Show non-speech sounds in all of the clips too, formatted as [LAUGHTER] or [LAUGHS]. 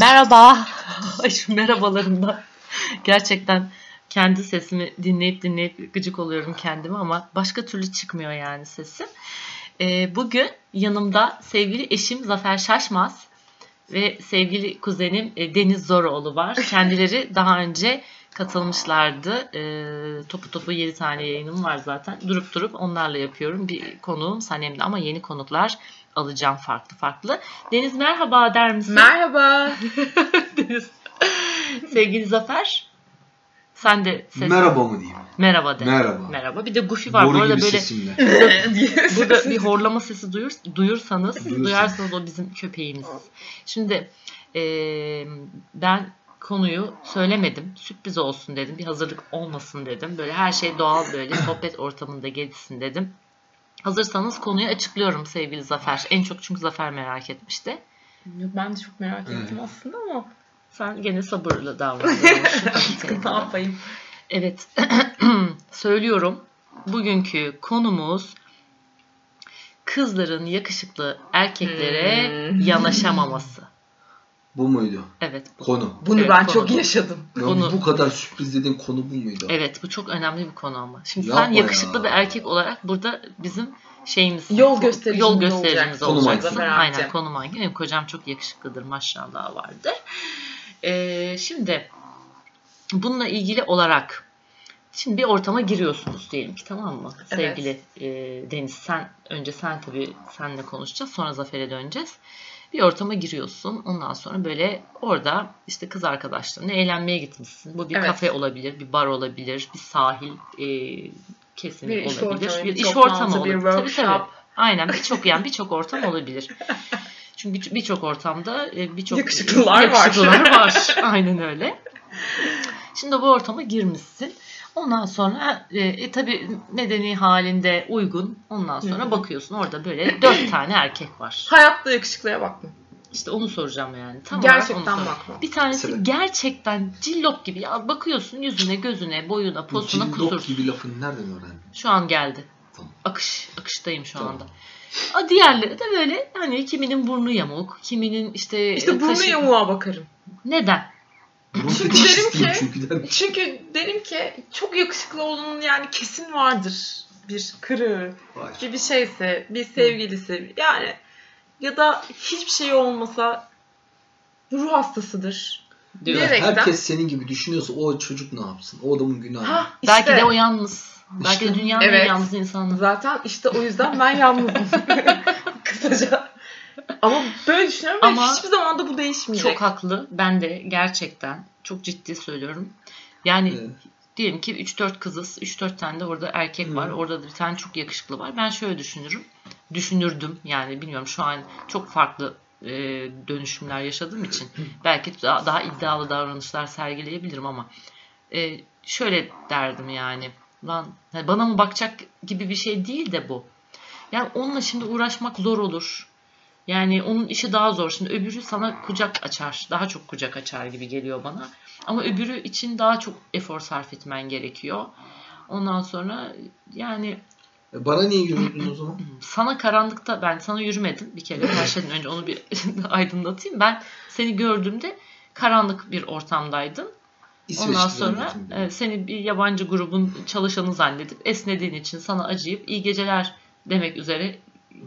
Merhaba. [LAUGHS] Ay şu merhabalarımdan. Gerçekten kendi sesimi dinleyip dinleyip gıcık oluyorum kendime ama başka türlü çıkmıyor yani sesim. Ee, bugün yanımda sevgili eşim Zafer Şaşmaz ve sevgili kuzenim e, Deniz Zoroğlu var. Kendileri daha önce katılmışlardı. Ee, topu topu 7 tane yayınım var zaten. Durup durup onlarla yapıyorum. Bir konuğum Sanem'de ama yeni konuklar alacağım farklı farklı. Deniz merhaba der misin? Merhaba. Deniz. Sevgili Zafer. Sen de ses. Merhaba mı diyeyim? Merhaba de. Merhaba. Merhaba. Bir de Goofy var. Boru Bu arada gibi böyle [LAUGHS] sesimle. burada bir horlama sesi duyur, duyursanız, Duyursun. duyarsanız o bizim köpeğimiz. Şimdi eee, ben konuyu söylemedim. Sürpriz olsun dedim. Bir hazırlık olmasın dedim. Böyle her şey doğal [COUGHS] böyle sohbet ortamında gelişsin dedim. Hazırsanız konuyu açıklıyorum sevgili Zafer. En çok çünkü Zafer merak etmişti. ben de çok merak Evet. ettim aslında ama Sen gene sabırlı davrandın. [LAUGHS] ne yapayım? Evet. [CLEARS THROAT] Söylüyorum. Bugünkü konumuz kızların yakışıklı erkeklere Hmm. yanaşamaması. Bu muydu? Evet. Konu. Bunu Evet, ben konu. çok yaşadım. Ya Konu. Bu kadar sürpriz dediğin konu bu muydu? Evet bu çok önemli bir konu ama. Şimdi Yapma sen yakışıklı ya. bir erkek olarak burada bizim şeyimiz. Yol göstericimiz Yol göstericimiz olacaksın. Konum olacaksın. aygıtı. Aynen konum hangi. Benim kocam çok yakışıklıdır maşallah vardır. Ee, şimdi bununla ilgili olarak şimdi bir ortama giriyorsunuz diyelim ki tamam mı? Evet. Sevgili e, Deniz sen önce sen tabii senle konuşacağız sonra Zafer'e döneceğiz. Bir ortama giriyorsun. Ondan sonra böyle orada işte kız arkadaşlarına eğlenmeye gitmişsin. Bu bir Evet. kafe olabilir, bir bar olabilir, bir sahil e, kesin Bir iş olabilir. ortamı, bir bir iş toplantı, ortamı bir olabilir. Tabii workshop. tabii. Aynen birçok yani birçok ortam olabilir. [LAUGHS] Çünkü bir- birçok ortamda e, birçok Yakışıklılar var. [LAUGHS] yakışıklılar var. Aynen öyle. Şimdi bu ortama girmişsin. Ondan sonra e, e, tabii nedeni halinde uygun. Ondan Hı sonra hı. bakıyorsun orada böyle dört tane erkek var. Hayatta yakışıklıya bakma. İşte onu soracağım yani. Tam olarak onu Gerçekten soracağım. bakma. Bir tanesi Sebep? gerçekten cillop gibi. Ya bakıyorsun yüzüne, gözüne, boyuna, Bu posuna cillop kusursuz. gibi lafını nereden öğrendin? Şu an geldi. Tamam. Akış, akıştayım şu Tamam. anda. A diğerleri de böyle hani kiminin burnu yamuk, kiminin işte e, İşte burnu kaşı- yamuğa bakarım. Neden? Burun [LAUGHS] Çünkü fetişist derim değil ki- çünkü derim. Çünkü derim ki çok yakışıklı olduğunun yani kesin vardır bir kırığı Hayır. bir bir şeyse, bir sevgilisi yani ya da hiçbir şey olmasa ruh hastasıdır. diyor. Direkt. Direkten- Herkes senin gibi düşünüyorsa o çocuk ne yapsın? O adamın günahı. Ha, işte, Belki de o yalnız. Belki de İşte, dünyanın en evet. yalnız insanı. Zaten işte o yüzden ben yalnızım. Kısaca. Ama böyle düşünüyorum ama Ama hiçbir zaman da bu değişmeyecek. Çok haklı. Ben de gerçekten çok ciddi söylüyorum. Yani Evet. diyelim ki 3-4 kızız. 3-4 tane de orada erkek Hı. var. Orada da bir tane çok yakışıklı var. Ben şöyle düşünürüm. Düşünürdüm yani bilmiyorum şu an çok farklı e, dönüşümler yaşadığım için belki daha, daha iddialı davranışlar sergileyebilirim ama e, şöyle derdim yani lan hani bana mı bakacak gibi bir şey değil de bu. Yani onunla şimdi uğraşmak zor olur. Yani onun işi daha zor. Şimdi öbürü sana kucak açar. Daha çok kucak açar gibi geliyor bana. Ama öbürü için daha çok efor sarf etmen gerekiyor. Ondan sonra yani E, Bana niye yürüdün o zaman? sana karanlıkta ben sana yürümedim bir kere başladın önce onu bir [LAUGHS] aydınlatayım. Ben seni gördüğümde karanlık bir ortamdaydım. İsveç'te Ondan sonra zannettim. e, seni bir yabancı grubun çalışanı zannedip esnediğin için sana acıyıp iyi geceler demek üzere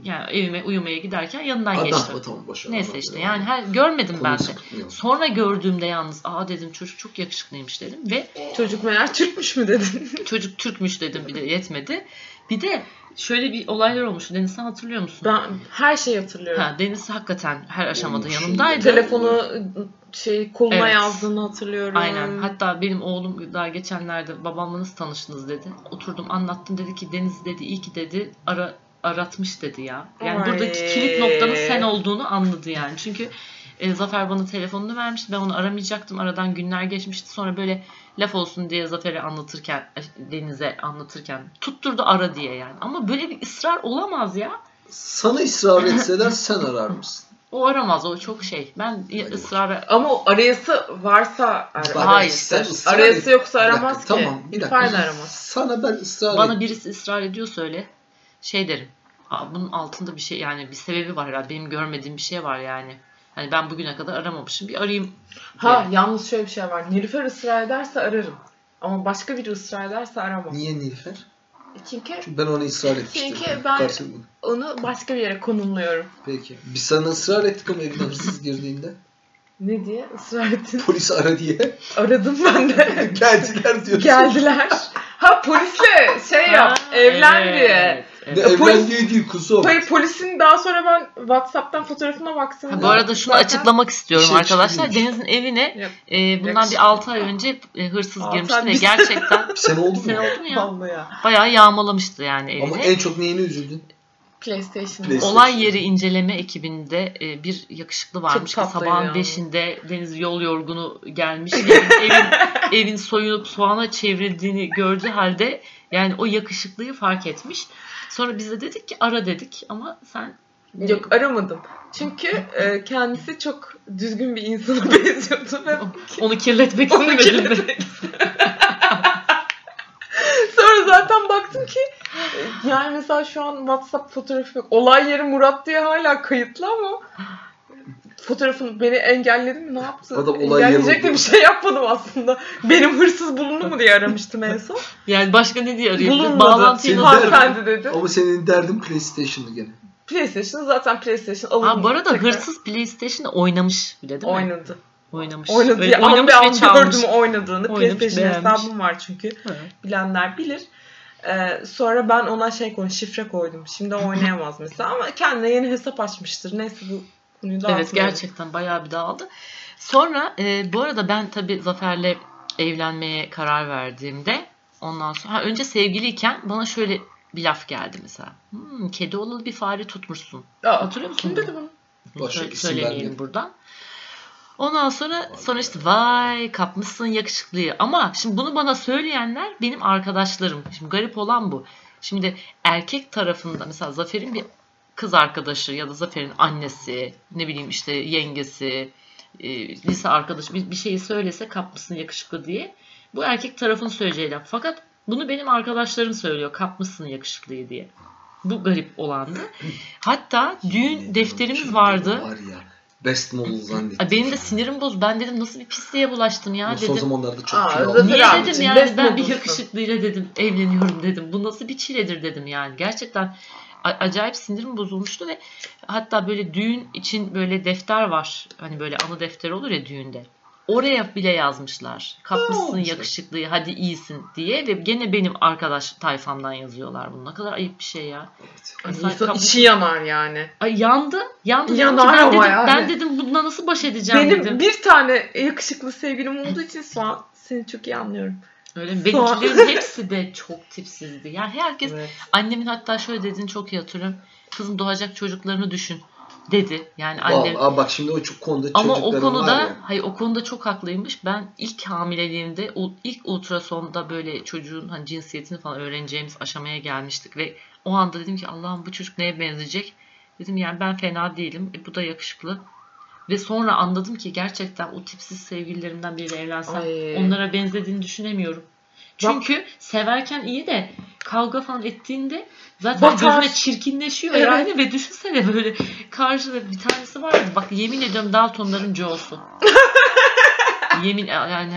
yani evime uyumaya giderken yanından Adam geçtim. tamam boş ver, Neyse adam işte ya. yani her şey görmedim ben de. Konusu tutmuyor. Sonra gördüğümde yalnız aa dedim çocuk çok yakışıklıymış dedim ve Çocuk meğer çırpmış mı dedin? çocuk Türkmüş dedim bir de yetmedi. Bir de şöyle bir olaylar olmuştu. Deniz sen hatırlıyor musun? [LAUGHS] Ben her şeyi hatırlıyorum. Ha, Deniz hakikaten her aşamada Olmuş. yanımdaydı. Telefonu şey koluna Evet. yazdığını hatırlıyorum. Aynen. Hatta benim oğlum daha geçenlerde babamla nasıl tanıştınız dedi. Oturdum anlattım dedi ki Deniz dedi iyi ki dedi ara aratmış dedi ya. Yani Ay. buradaki kilit noktanın sen olduğunu anladı yani. Çünkü e, Zafer bana telefonunu vermişti. Ben onu aramayacaktım. Aradan günler geçmişti. Sonra böyle laf olsun diye Zafer'e anlatırken e, Deniz'e anlatırken tutturdu ara diye yani. Ama böyle bir ısrar olamaz ya. [LAUGHS] Sana ısrar etseler sen arar mısın? O aramaz. O çok şey. Ben Hadi bakalım. ısrara Ama o arayası varsa ar- Bak, Hayır. sen ısrar et. arayası yoksa Bir dakika, aramaz ki. Tamam bir dakika. Fayda aramaz. Sana ben ısrar Bana birisi ısrar ediyor söyle. Şey derim. Aa, bunun altında bir şey yani bir sebebi var herhalde. Benim görmediğim bir şey var yani. Hani ben bugüne kadar aramamışım. Bir arayayım. Ha Evet. yalnız şöyle bir şey var. Nilüfer ısrar ederse ararım. Ama başka biri ısrar ederse aramam. Niye Nilüfer? Çünkü Çünkü ben ona ısrar etmiştim. Çünkü ben- Karşılıklı. onu başka bir yere konumluyorum. Peki. Biz sana ısrar ettik ama evine hırsız girdiğinde. Ne diye ısrar ettin? Polis ara diye. [LAUGHS] Aradım ben de. Geldiler diyorsun. Geldiler. Ha polisle şey yap. Ha, evlen evet, diye. Ne, evet. evlen Polis- diye değil kuzum. Hayır polisin daha sonra ben Whatsapp'tan fotoğrafına baktım. Ha, bu arada şunu Zaten açıklamak istiyorum İşe arkadaşlar. çıkıyormuş. Deniz'in evine Yok, e, bundan yakışıklı. bir 6 ay önce e, hırsız Altı girmişti ay ve biz- [LAUGHS] gerçekten Bir sene oldu bir sene mu? oldu mu ya? vallahi ya. Bayağı yağmalamıştı yani evini. Ama en çok neyine üzüldün? PlayStation. Play- Olay yeri inceleme ekibinde e, bir yakışıklı varmış ki tatlıydı sabahın ya. 5'inde Deniz yol yorgunu gelmiş. [LAUGHS] Evin, evin, evin soyulup soğana çevrildiğini gördüğü halde yani o yakışıklıyı fark etmiş. Sonra biz de dedik ki ara dedik ama sen Yok aramadım. Çünkü e, kendisi çok düzgün bir insana [LAUGHS] benziyordu ve onu kirletmek [LAUGHS] Onu istemedin mi? Sonra zaten baktım ki e, yani mesela şu an WhatsApp fotoğrafı yok. Olay yeri Murat diye hala kayıtlı ama fotoğrafını beni engelledi mi ne yaptı? Adam olay yeri Engelleyecek de oldu. bir şey yapmadım aslında. Benim hırsız bulundu mu diye aramıştım en son. [LAUGHS] Yani başka ne diye arayabiliriz? Bulunmadı. Bağlantıyı Seni nasıl de- Hanımefendi dedi. Ama senin derdin PlayStation'dı gene. PlayStation zaten PlayStation alındı. Ha, bu arada Tekrar hırsız PlayStation'da oynamış bile değil mi? oynadı. Oynamış. Oynadı. Öyle diye an oynamış be an ve çalmış. gördüm oynadığını. Oynamış, PlayStation beğenmiş. hesabım var çünkü. Evet. bilenler bilir. Ee, sonra ben ona şey koydum, şifre koydum. Şimdi [LAUGHS] o oynayamaz mesela ama kendine yeni hesap açmıştır. Neyse bu konuyu da Evet gerçekten bayağı bir dağıldı. Sonra e, bu arada ben tabii Zafer'le evlenmeye karar verdiğimde ondan sonra ha, önce sevgiliyken bana şöyle bir laf geldi mesela. Hmm, kedi olalı bir fare tutmuşsun. Aa, Hatırlıyor musun? kim bunu? dedi bunu? Başka Sö- isim vermeyelim. söylemeyelim buradan. Ondan sonra sonra işte vay kapmışsın yakışıklıyı. Ama şimdi bunu bana söyleyenler benim arkadaşlarım. Şimdi garip olan bu. Şimdi erkek tarafında mesela Zafer'in bir kız arkadaşı ya da Zafer'in annesi, ne bileyim işte yengesi, e, lise arkadaşı bir, bir şeyi söylese kapmışsın yakışıklı diye. Bu erkek tarafın söyleyeceği laf. Fakat bunu benim arkadaşlarım söylüyor kapmışsın yakışıklıyı diye. Bu garip olandı. Hatta düğün defterimiz Şimdi vardı. Var ya. Best model zannettim. Ay benim de sinirim bozdu. Ben dedim nasıl bir pisliğe bulaştım ya Nasıl o dedim. zamanlarda çok Aa, kilo zaten- Niye Zafer dedim abicim, yani best ben bir model. yakışıklıyla dedim evleniyorum dedim. Bu nasıl bir çiledir dedim yani. Gerçekten a- acayip sinirim bozulmuştu ve hatta böyle düğün için böyle defter var. Hani böyle anı defteri olur ya düğünde. Oraya bile yazmışlar. Kapmışsın olmuş? yakışıklıyı hadi iyisin diye ve gene benim arkadaş tayfamdan yazıyorlar bunu. Ne kadar ayıp bir şey ya. Mesela İnsan kap- içi yanar yani. Ay yandı. Yandı. Yanar ben, ama dedim, yani. ben dedim bununla nasıl baş edeceğim Benim dedim. bir tane yakışıklı sevgilim olduğu için şu an seni çok iyi anlıyorum. Öyle mi? Soğan. Benimkilerin hepsi de çok tipsizdi. Yani herkes Evet. annemin hatta şöyle dediğini çok iyi hatırlıyorum. Kızım doğacak çocuklarını düşün dedi. Yani annem. Vallahi, aa, bak şimdi o çok konuda Ama o çocukların var konuda ya. hayır o konuda çok haklıymış. Ben ilk hamileliğimde u- ilk ultrasonda böyle çocuğun hani cinsiyetini falan öğreneceğimiz aşamaya gelmiştik ve o anda dedim ki Allah'ım bu çocuk neye benzeyecek? Dedim yani ben fena değilim. E, bu da yakışıklı. Ve sonra anladım ki gerçekten o tipsiz sevgililerimden biriyle evlensem Ay. onlara benzediğini düşünemiyorum. Çünkü severken iyi de kavga falan ettiğinde zaten Batar. gözüne çirkinleşiyor Evet. yani ve düşünsene böyle karşıda bir tanesi vardı bak yemin ediyorum Daltonların Joe'su. yemin yani,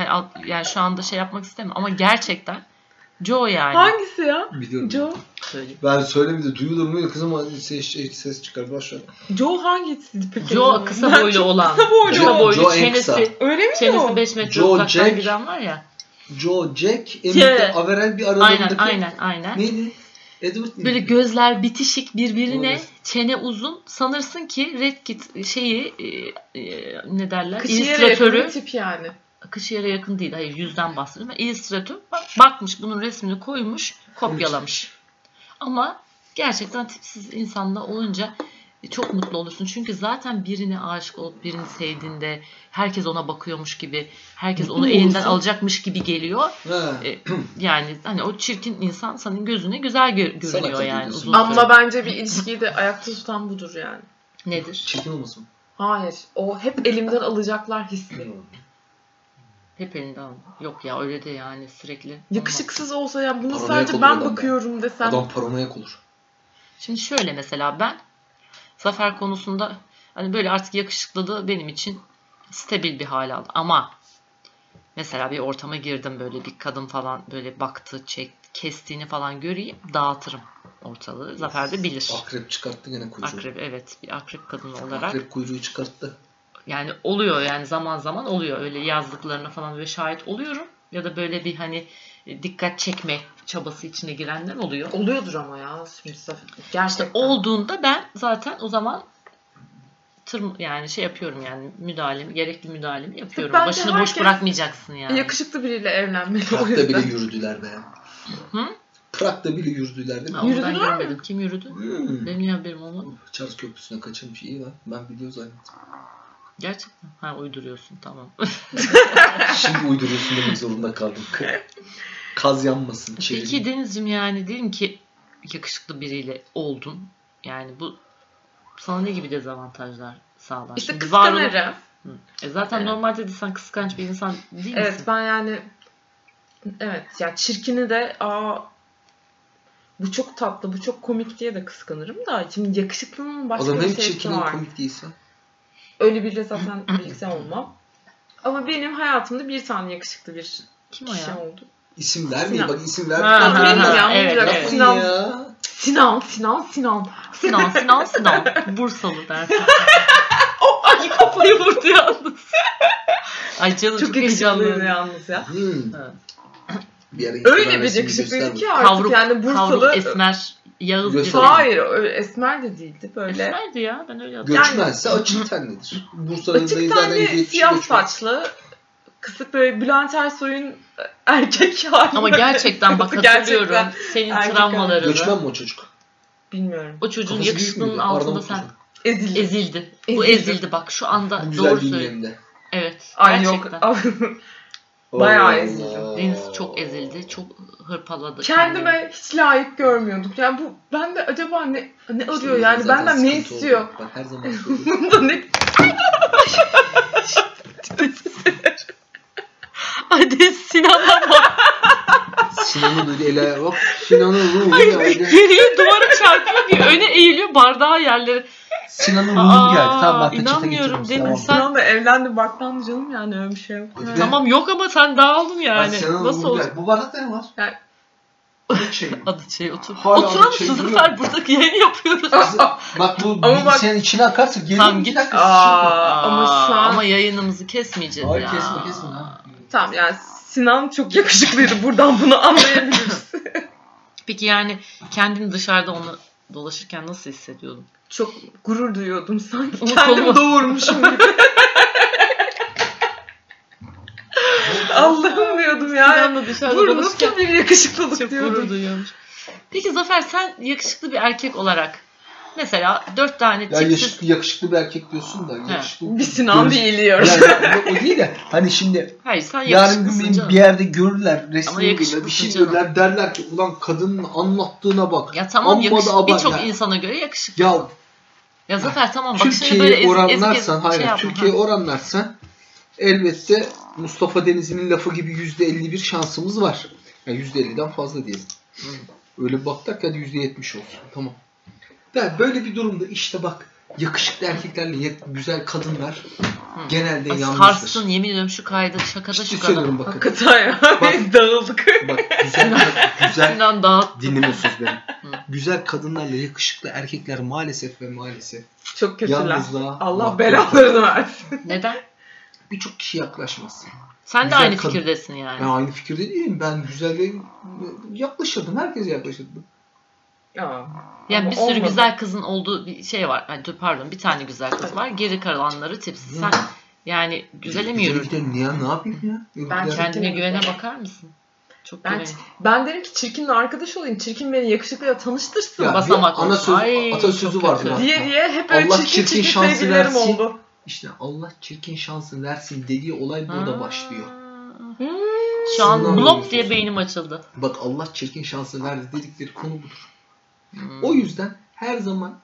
yani şu anda şey yapmak istemiyorum ama gerçekten Joe yani. Hangisi ya? Biliyorum. Joe. Söyleyeyim. Ben söyleyeyim de duyulur mu? Kızım ama ses, ses çıkar. Boş ver. Joe hangisiydi peki? Joe kısa Ben boylu çok olan. Kısa boylu. Kısa Joe- boylu Joe en kısa. çenesi. Öyle mi Çenesi o? 5 metre Joe uzaktan Jack. giden var ya. Joe, Jack, Jack. Emmitt'le Averell bir aralarındaki... Aynen aynen aynen. Neydi? Edward Böyle miydi? gözler bitişik birbirine, Evet. çene uzun. Sanırsın ki Red Kit şeyi e, e, ne derler? Kışı yere yakın İllüstratörü. bir tip yani. Kışı yere yakın değil. Hayır yüzden bahsediyorum. Ama illüstratör bak- bakmış bunun resmini koymuş, kopyalamış. Ama gerçekten tipsiz insanla olunca çok mutlu olursun. Çünkü zaten birine aşık olup birini sevdiğinde herkes ona bakıyormuş gibi, herkes onu Mutlu elinden olursun. alacakmış gibi geliyor. Ha. E, yani hani o çirkin insan senin gözüne güzel gö- görünüyor Salak yani diyorsun. uzun süre. Ama bence bir ilişkiyi de ayakta tutan budur yani. Nedir? Çirkin olmasın? mı? Hayır. O hep elimden alacaklar hissi. Hep elinde alma. Yok ya öyle de yani sürekli. Yakışıksız olsa ya bunu Paranoyak sadece olur ben adam ya. bakıyorum desem. Adam paranoyak olur. Şimdi şöyle mesela ben zafer konusunda Hani böyle artık yakışıklılığı benim için stabil bir hal aldı. Ama mesela bir ortama girdim böyle bir kadın falan böyle baktı, çek, kestiğini falan göreyim dağıtırım ortalığı. Zafer de bilir. Akrep çıkarttı gene kuyruğu. Akrep, Akrep evet bir akrep kadını olarak kuyruğu çıkarttı. yani oluyor yani zaman zaman oluyor öyle yazdıklarına falan böyle şahit oluyorum ya da böyle bir hani dikkat çekme çabası içine girenler oluyor. Oluyordur ama ya. Şimdi İşte gerçekten. olduğunda ben zaten o zaman tırm yani şey yapıyorum yani müdahalemi gerekli müdahalemi yapıyorum. Bence Başını boş herkes bırakmayacaksın yani. Yakışıklı biriyle evlenmeli o Prag'da bile yüzden. yürüdüler be. Hı? Prag'da bile yürüdüler değil mi? Ha, ondan Yürüdüler mi? görmedim. Kim yürüdü? Hmm. Benim niye haberim olmadı? Çarşı Köprüsü'ne kaçırmış iyi lan. Ben biliyor zannettim. Gerçekten. Ha uyduruyorsun tamam. Şimdi uyduruyorsun demek zorunda kaldım. Kaz yanmasın. Peki Çevirin. Deniz'cim yani diyelim ki yakışıklı biriyle oldun. Yani bu sana ne gibi dezavantajlar sağlar? İşte Şimdi var olup- kıskanırım. E zaten Evet. normalde de sen kıskanç bir insan değil Evet misin? ben yani evet ya çirkini de aa bu çok tatlı, bu çok komik diye de kıskanırım da şimdi yakışıklının başka Adam bir hem şeysi çirkin var. hem komik değilse. Öyle biriyle zaten birlikte olmam. Ama benim hayatımda bir tane yakışıklı bir Kim o kişi ya? oldu. İsim vermeyin Sinan. bak isim Ha, Adı ha, benim ha. vermeyin. ya, evet, Muzaffer. evet. Yapmayın Sinan, ya. Sinan, Sinan, Sinan. Sinan, Sinan, [LAUGHS] Sinan. Bursalı dersin. Oh, ay kafayı vurdu yalnız. Ay canım çok, Çok yakışıklıydı heyecanlandım. yalnız ya. Hmm. Ha. Bir ara Öyle Instagram bir resmini yakışıklıydı göster ki artık Kavruk, yani Bursalı. kavruk esmer, yağız Göster. biri. Hayır öyle esmer de değildi böyle. Esmerdi ya ben öyle bak. hatırlıyorum. Göçmense açık tenlidir. Bursa'nın Açık dayı zaten tenli, yetişti siyah göçmen. saçlı, kısık böyle Bülent Ersoy'un e, erkek [LAUGHS] hali. Ama gerçekten bak Gerçekten. hatırlıyorum senin Erkek travmalarını. Göçmen mi o çocuk? Bilmiyorum. O çocuğun Kafası büyük yakışıklığının müydü? altında Arnavut sen çocuk. Ezil. ezildi. Bu Ezildi. ezildi bak şu anda Bu doğru güzel bir söylüyorsun. yemde. Evet Ay yok. gerçekten. Bayağı Allah. ezildim. Deniz çok ezildi, çok hırpaladı. kendini. Kendime hiç layık görmüyorduk. Yani bu ben de acaba ne ne İşte arıyor yani zaten benden ne sıkıntı oldu. istiyor? Ben her zaman söylüyorum. [LAUGHS] Bunda ne Ay Deniz Sinan'a [LAUGHS] bak. Sinan'ı böyle ele ayağa bak. Sinan'ın ruhu Ay, geldi. Geriye duvara çarpıyor bir öne eğiliyor bardağı yerlere. Sinan'ın Aa, ruhu geldi. Tamam bak peçete inanmıyorum, getirmiş. değil mi? Tamam. Sen- Sinan da evlendi baktım canım yani öyle bir şey yok. Öyle. Tamam. Tamam yok ama sen dağıldın Ay, yani. Sinan'ın Nasıl ruhu oldu? geldi. Bu bardakta ne var? Ya- Adı şey. [LAUGHS] Adı şey otur. Hala adı Oturalım şey şu duruyor. sefer buradaki yayın yapıyoruz. Bak bu Ama bak- bilgisayarın içine akarsa gelir Tamam, tamam, git. iki dakika sıçacak. Aa, ama şu an Ama yayınımızı kesmeyeceğiz Hayır ya. kesme kesme. ha. tamam yani Sinan çok yakışıklıydı. Buradan bunu anlayabiliriz. Peki yani kendini dışarıda onu dolaşırken nasıl hissediyordun? [LAUGHS] çok gurur duyuyordum sanki. Umut Kendim olma. doğurmuşum gibi. [LAUGHS] Allah'ım diyordum ya. Sinan'la dışarıda Bu dolaşırken nasıl bir yakışıklılık çok gurur diyordum. duyuyormuş. Peki Zafer sen yakışıklı bir erkek olarak mesela dört tane Ya tipsiz yakışıklı, yakışıklı bir erkek diyorsun da yakışıklı. Bir Sinan Görüş- değiliyor. [LAUGHS] Yani, o- o değil de hani şimdi Hayır sen yarın gün yakışıklısın beni canım. bir yerde görürler resmini yakışıklısın görürler bir şey canım. görürler derler ki ulan kadının anlattığına bak. Ya tamam Amma da yakış... abartma. birçok insana göre yakışıklı. Ya Ya Zafer tamam bak şimdi böyle Türkiye'yi ezip ezip ezip oranlarsan hayır şey yapma. Türkiye'yi Ha. oranlarsan elbette Mustafa Denizli'nin lafı gibi %51 şansımız var. Yani %50'den fazla diyelim. Hmm. Öyle bir baktık hadi %70 olsun. Tamam. Yani böyle bir durumda işte bak yakışıklı erkeklerle ya- güzel kadınlar Hı. genelde Hmm. Ay, yalnızdır. Sarstın yemin ediyorum şu kaydı şakada Ciddi şu kadar. söylüyorum bakın. Hakikaten ya. Bak. Dağıldık. Bak güzel [LAUGHS] güzel Sinan dağıt. dinlemiyorsunuz beni. Hı. güzel kadınlarla yakışıklı erkekler maalesef ve maalesef Çok kötüler. yalnızlığa Allah mahkum. belalarını versin. Neden? birçok kişi yaklaşmaz. Sen de Güzel aynı kadın. fikirdesin yani. Ben aynı fikirde değilim. Ben güzelliğe yaklaşırdım. Herkes yaklaşırdı. Ya. Yani Ama bir sürü olmadı. güzel kızın olduğu bir şey var. Ay, dur, pardon bir tane güzel kız var. Geri kalanları tipsiz. Sen yani güzele mi yürüdün? Güzel ne, ne yapayım ya? Ben Güzel- Kendine Çirkin. güvene bakar mısın? Çok Ben güven. Ben derim ki çirkinle arkadaş olayım. Çirkin beni yakışıklıyla tanıştırsın. Ya, basamak bir ana olsun. söz, Ay, atasözü çok vardı. kötü. lan. Diye diye hep öyle Allah çirkin çirkin çirkin, şansı sevgililerim versin. oldu. İşte Allah çirkin şansı versin dediği olay burada Aa. başlıyor. Hmm. Şu an Sinan blok Bey. diye beynim açıldı. Bak Allah çirkin şansı verdi dedikleri konu budur. Hmm. O yüzden her zaman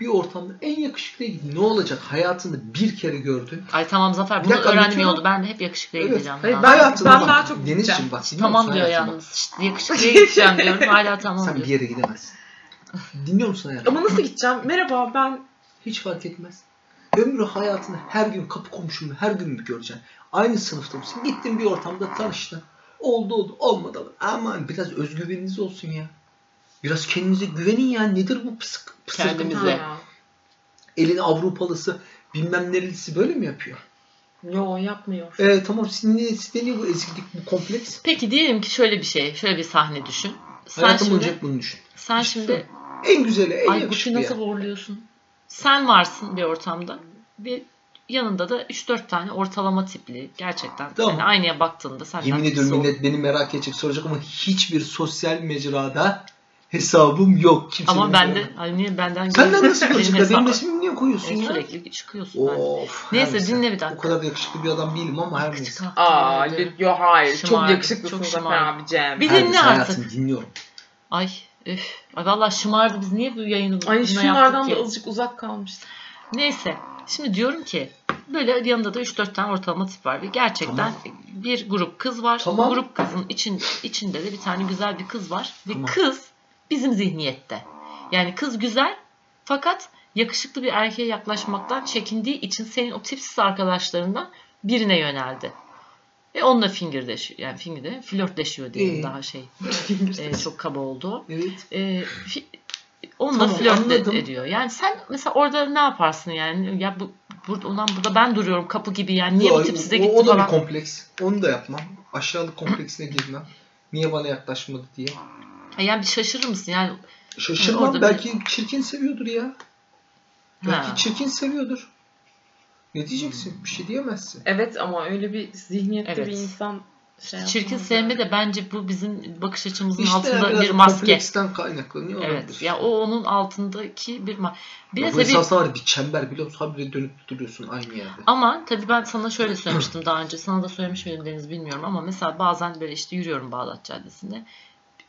bir ortamda en yakışıklıya gidin. Ne olacak? Hayatını bir kere gördün. Ay tamam Zafer Bir bunu dakika, öğrenmiyor bütün- oldu. Ben de hep yakışıklıya Evet. gideceğim. Hayır, falan. Ben- Hayatına ben bak. daha çok Denizciğim gideceğim. bak. dinliyor Tamam musun? diyor Hayatına bak. yalnız. İşte yakışıklıya gideceğim diyorum. Hala tamam Sen bir diyor. yere gidemezsin. Dinliyor musun hayatım? Ama nasıl gideceğim? Merhaba ben Hiç fark etmez. Ömrü hayatını her gün kapı komşunu her gün mü göreceksin? Aynı sınıfta mısın? Gittin bir ortamda tanıştın. Oldu oldu olmadı. Aman biraz özgüveniniz olsun ya. Biraz kendinize güvenin ya. Nedir bu pısık, pısırgı? Kendimize. Ha. Elin Avrupalısı bilmem nerelisi böyle mi yapıyor? Yo yapmıyor. E, tamam sizin ne sizde niye bu eziklik bu kompleks? Peki diyelim ki şöyle bir şey, şöyle bir sahne düşün. Sen Hayatım şimdi, olacak bunu düşün. sen Hiçbir şimdi En güzeli, en Ay Gucci yakışıklı nasıl ya. uğurluyorsun? Sen varsın bir ortamda ve yanında da 3-4 tane ortalama tipli gerçekten Tamam. yani aynaya baktığında senden Yemin birisi ediyorum ol- millet beni merak edecek soracak ama hiçbir sosyal mecrada hesabım yok. Kimse Ama beni bende görmüyor. hani niye benden Senden görüyorsun? nasıl Benim görecekler? Benim hesaba- resmimi niye koyuyorsun E, ya? sürekli çıkıyorsun. ben. Of. Neyse, her neyse. dinle bir dakika. O kadar yakışıklı bir adam değilim ama her Kıçı neyse. kalktı, Aa, yemin ederim. li- yo hayır. Şımarık, çok yakışıklısın çok Zafer şımarık. abicem. Bir Her dinle neyse artık. hayatım dinliyorum. Ay üf. Ay valla şımardı biz niye bu yayını Ay bununla şunlardan yaptık da ki? azıcık uzak kalmışsın. Neyse. Şimdi diyorum ki böyle yanında da 3-4 tane ortalama tip var ve gerçekten Tamam. bir grup kız var. Tamam. Bu grup kızın için, içinde de bir tane güzel bir kız var ve Tamam. kız bizim zihniyette. Yani kız güzel fakat yakışıklı bir erkeğe yaklaşmaktan çekindiği için senin o tipsiz arkadaşlarından birine yöneldi. Ve onunla fingirdeşiyor. Yani fingirde flörtleşiyor diyelim İyi. daha şey. e, çok kaba oldu. o Evet. e, fi- onunla Tamam, flört de- anladım. ediyor. Yani sen mesela orada ne yaparsın yani? Ya bu burada ulan burada ben duruyorum kapı gibi yani niye Yo, bu tip size o- gitti O da falan. bir kompleks. Onu da yapmam. Aşağılık kompleksine girmem. Niye bana yaklaşmadı diye. Ha, yani bir şaşırır mısın yani? Şaşırmam. Orada bir- belki çirkin seviyordur ya. Belki Ha. çirkin seviyordur. Ne diyeceksin? Bir şey diyemezsin. Evet ama öyle bir zihniyette Evet. bir insan şey Çirkin yapmaz sevme yani. de bence bu bizim bakış açımızın İşte altında biraz bir maske. kompleksten kaynaklanıyor Evet. olabilir. Ya o onun altındaki bir ma- Bir de Ya bu tabii esasında var ya, bir çember biliyor musun? Habire dönüp duruyorsun aynı yerde. Ama tabii ben sana şöyle söylemiştim daha önce. Sana da söylemiş miydim Deniz bilmiyorum ama mesela bazen böyle işte yürüyorum Bağdat Caddesi'nde.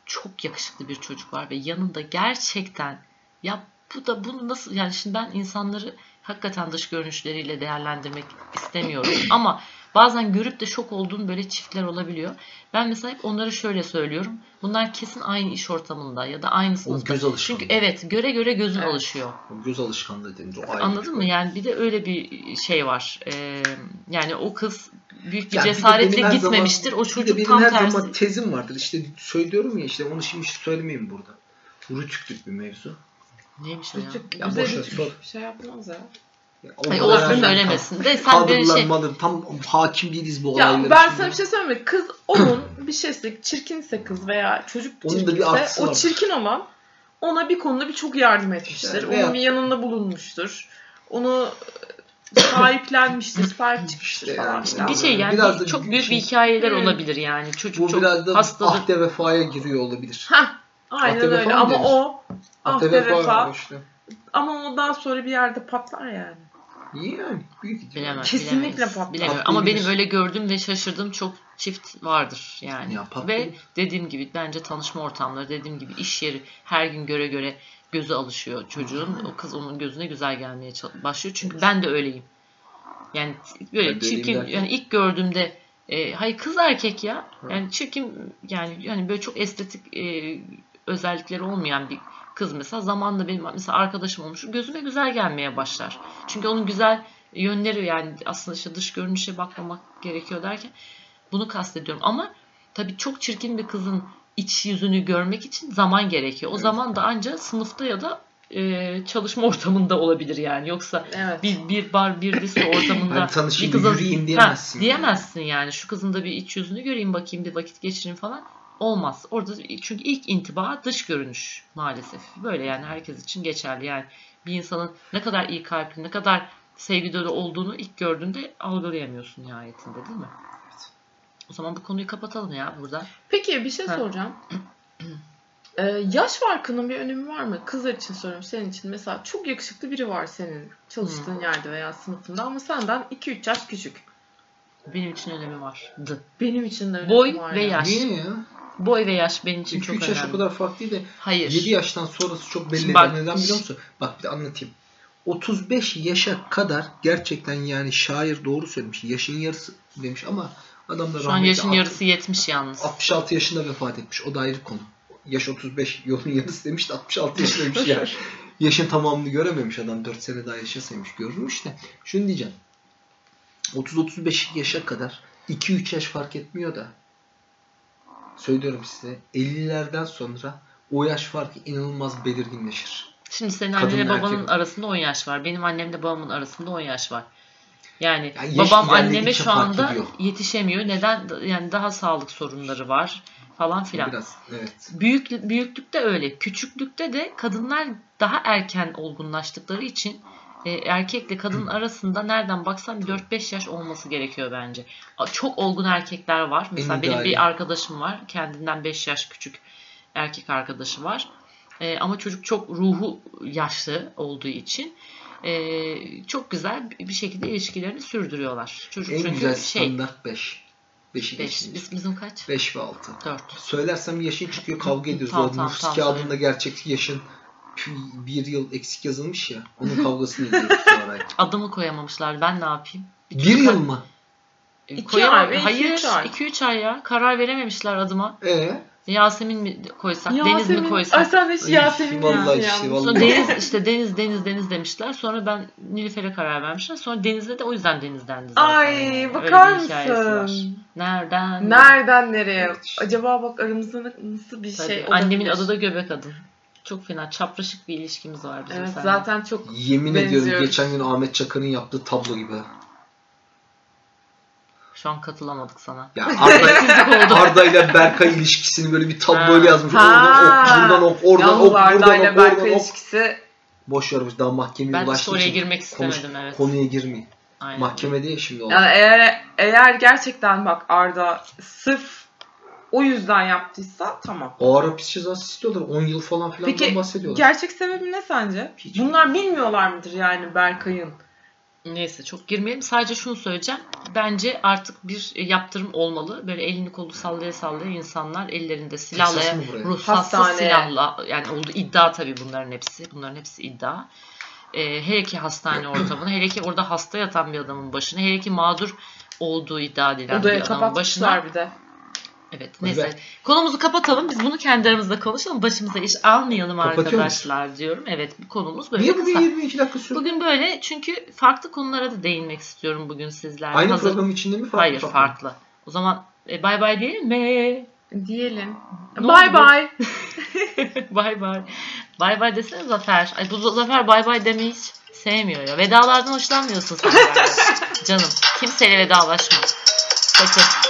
Çok yakışıklı bir çocuk var ve yanında gerçekten ya bu da bunu nasıl yani şimdi ben insanları hakikaten dış görünüşleriyle değerlendirmek istemiyorum ama bazen görüp de şok olduğum böyle çiftler olabiliyor. Ben mesela hep onlara şöyle söylüyorum. Bunlar kesin aynı iş ortamında ya da aynı O sınıfta. göz alışkanlığı. Çünkü evet göre göre gözün Evet. alışıyor. O göz alışkanlığı denir. O ayrı bir Anladın şey. mı? Yani bir de öyle bir şey var. Ee, yani o kız büyük bir Ya bir de benim cesaretle her gitmemiştir. o Bir de çocuk benim tam her tersi. zaman tezim vardır. İşte söylüyorum ya işte onu şimdi söylemeyeyim burada. Rütüklük bir mevzu. Neymiş o ya? Çocuk Ya bize boş ver, hiç sor. bir şey yapmaz ya. Ya Ay, o olsun beraber söylemesin de sen böyle Kaldırılan şey. malı tam hakim değiliz bu olaylara. Ya ben şimdi. sana bir şey söyleyeyim mi? Kız [CLEARS THROAT] onun bir şeyse çirkinse kız veya çocuk Onun da bir çirkinse artısı o var. çirkin olan ona bir konuda bir çok yardım etmiştir. İşte Onun veya- bir yanında bulunmuştur. Onu e, sahiplenmiştir, sahip çıkmıştır İşte falan yani. filan. Bir şey yani Biraz da çok bir büyük şey- bir hikayeler Hı. olabilir yani. Çocuk Bu çok biraz da ah hastadır. ahde vefaya giriyor olabilir. Hah, aynen Ahde vefa öyle mı ama denir? o ah be vefa. işte. Ama o daha sonra bir yerde patlar yani. İyi yani. Büyük ihtimal. Bilemem, Kesinlikle bilemeyiz. patlar. Bilemiyorum. Ama Patlayabilir. benim öyle gördüğüm ve şaşırdığım çok çift vardır yani. Ya patlayabilir. ve dediğim gibi bence tanışma ortamları, dediğim gibi iş yeri her gün göre göre gözü alışıyor çocuğun. O kız onun gözüne güzel gelmeye çal- başlıyor. Çünkü ben de öyleyim. Yani böyle Ben de öyleyim çirkin derken- yani ilk gördüğümde e, hayır kız erkek ya. Yani çirkin yani yani böyle çok estetik e, özellikleri olmayan bir kız mesela zamanla benim mesela arkadaşım olmuş gözüme güzel gelmeye başlar. Çünkü onun güzel yönleri yani aslında işte dış görünüşe bakmamak gerekiyor derken bunu kastediyorum ama tabii çok çirkin bir kızın iç yüzünü görmek için zaman gerekiyor. O Evet. zaman da ancak sınıfta ya da e, çalışma [LAUGHS] ortamında olabilir yani. Yoksa Evet. bir, bir bar bir lise ortamında Ben tanışayım, bir kızın yürüyeyim diyemezsin Ha, diyemezsin yani. Şu kızın da bir iç yüzünü göreyim bakayım bir vakit geçireyim falan. Olmaz. Orada çünkü ilk intiba dış görünüş maalesef. Böyle yani herkes için geçerli. Yani bir insanın ne kadar iyi kalpli, ne kadar sevgi dolu olduğunu ilk gördüğünde algılayamıyorsun nihayetinde değil mi? O zaman bu konuyu kapatalım ya burada. Peki bir şey Ha. soracağım. Ee, yaş farkının bir önemi var mı? Kızlar için soruyorum senin için. Mesela çok yakışıklı biri var senin çalıştığın Hmm. yerde veya sınıfında ama senden 2-3 yaş küçük. Benim için önemi vardı. Benim için de önemi Boy var. ve yani. yaş. Niye ya? Boy ve yaş benim için çok 2-3 önemli. yaş o kadar farklı değil de Hayır. 7 yaştan sonrası çok belli Şimdi eder. bak- Neden biliyor musun? Bak bir de anlatayım. 35 yaşa kadar gerçekten yani şair doğru söylemiş. Yaşın yarısı demiş ama adam da Şu an rahmetli yaşın alt- yarısı 70 yalnız. [LAUGHS] 66 yaşında vefat etmiş. O da ayrı konu. Yaş 35 yolun yarısı demiş de 66 yaşındaymış ya. Yaşın tamamını görememiş adam. 4 sene daha yaşasaymış görürmüş de. Şunu diyeceğim. 30-35 yaşa kadar 2-3 yaş fark etmiyor da söylüyorum size 50'lerden sonra o yaş farkı inanılmaz belirginleşir. Şimdi senin Kadın annenle ve babanın erkek. arasında 10 yaş var. Benim annemle babamın arasında 10 yaş var. Yani Ya yaş babam ilerledikçe anneme şu fark anda ediyor. yetişemiyor. Neden? Yani daha sağlık sorunları var falan filan. Biraz evet. Büyük büyüklükte öyle, küçüklükte de kadınlar daha erken olgunlaştıkları için e, erkekle kadın arasında nereden baksan bir 4-5 yaş olması gerekiyor bence. A, Çok olgun erkekler var. Mesela benim ideali. bir arkadaşım var. Kendinden 5 yaş küçük erkek arkadaşı var. E, ama çocuk çok ruhu yaşlı olduğu için e, çok güzel bir şekilde ilişkilerini sürdürüyorlar. Çocuk En çünkü güzel şey standart şey. 5. 5 5'i geçti. bizim kaç? 5 ve 6. 4. Söylersem yaşın çıkıyor kavga ediyoruz. Tamam, o tamam, nüfus tamam, kağıdında söyle. gerçek yaşın pü- bir yıl eksik yazılmış ya. Onun kavgasını izliyoruz şu [LAUGHS] ara. Adımı koyamamışlar. Ben ne yapayım? Bir yıl mı? İki E, Koyamam. ay ve iki, Hayır, üç ay. 2-3 ay. ya. Karar verememişler adıma. Ee, [LAUGHS] Yasemin mi koysak, Deniz mi Yasemin- Ay koysak? sen de hiç Ay, Yasemin vallahi yazdın işte, yalnız. vallahi. Sonra Deniz işte Deniz Deniz Deniz demişler. Sonra ben Nilüfer'e karar vermişler. Sonra Deniz'e de o yüzden Deniz dendi zaten. Ay, Yani. bakar Öyle bir hikayesi var. mısın? Nereden? Nereden nereye? Evet. Acaba bak aramızda nasıl bir Tabii, şey olabilir? Annemin adı da Göbek Adın. Çok fena çapraşık bir ilişkimiz var bizim Evet seninle. zaten çok yemin Benziyoruz. ediyorum geçen gün Ahmet Çakar'ın yaptığı tablo gibi. Şu an katılamadık sana. [LAUGHS] Ya Arda, Sizlik [LAUGHS] oldu. Arda ile Berkay ilişkisini böyle bir tabloyla Ha. yazmış. Oradan ok, Ha. buradan ok, oradan Yalnız ok, buradan Arda'yla ok, oradan Berkay ok. ilişkisi Boş yormuş daha mahkemeye ben ulaştığı oraya için girmek konuş- istemedim evet. konuya girmeyin. Aynen. Mahkemede ya şimdi o. yani eğer eğer gerçekten bak Arda sırf o yüzden yaptıysa tamam. O ara pis ceza istiyorlar. 10 yıl falan filan Peki, bahsediyorlar. Gerçek sebebi ne sence? Hiç. Bunlar bilmiyorlar mıdır yani Berkay'ın? Neyse çok girmeyelim. Sadece şunu söyleyeceğim. Bence artık bir yaptırım olmalı. Böyle elini kolu sallaya sallaya insanlar ellerinde Texas silahla, mı buraya? ruhsatsız Hastane. silahla yani oldu iddia tabii bunların hepsi. Bunların hepsi iddia. Ee, hele ki [CLEARS THROAT] hastane ortamına, hele ki orada hasta yatan bir adamın başına, hele ki mağdur olduğu iddia edilen bir Odaya adamın başına. kapatmışlar bir de. Evet Hadi neyse. be. Konumuzu kapatalım. Biz bunu kendi aramızda konuşalım. Başımıza iş almayalım Kapatıyor musun? arkadaşlar diyorum. Evet bu konumuz böyle Niye bugün kısa. 22 dakika sürdü? Bugün böyle çünkü farklı konulara da değinmek istiyorum bugün sizlerle. Aynı Hazır- program içinde mi farklı? Hayır farklı. O zaman e, bay bay diyelim mi? [LAUGHS] Diyelim. Ne Bye oldu? bye. bay bay. Bay bay desene Zafer. Ay bu Zafer bay bay demeyi hiç sevmiyor [LAUGHS] ya. Vedalardan hoşlanmıyorsun sen. galiba. Canım kimseyle vedalaşma. Sakın.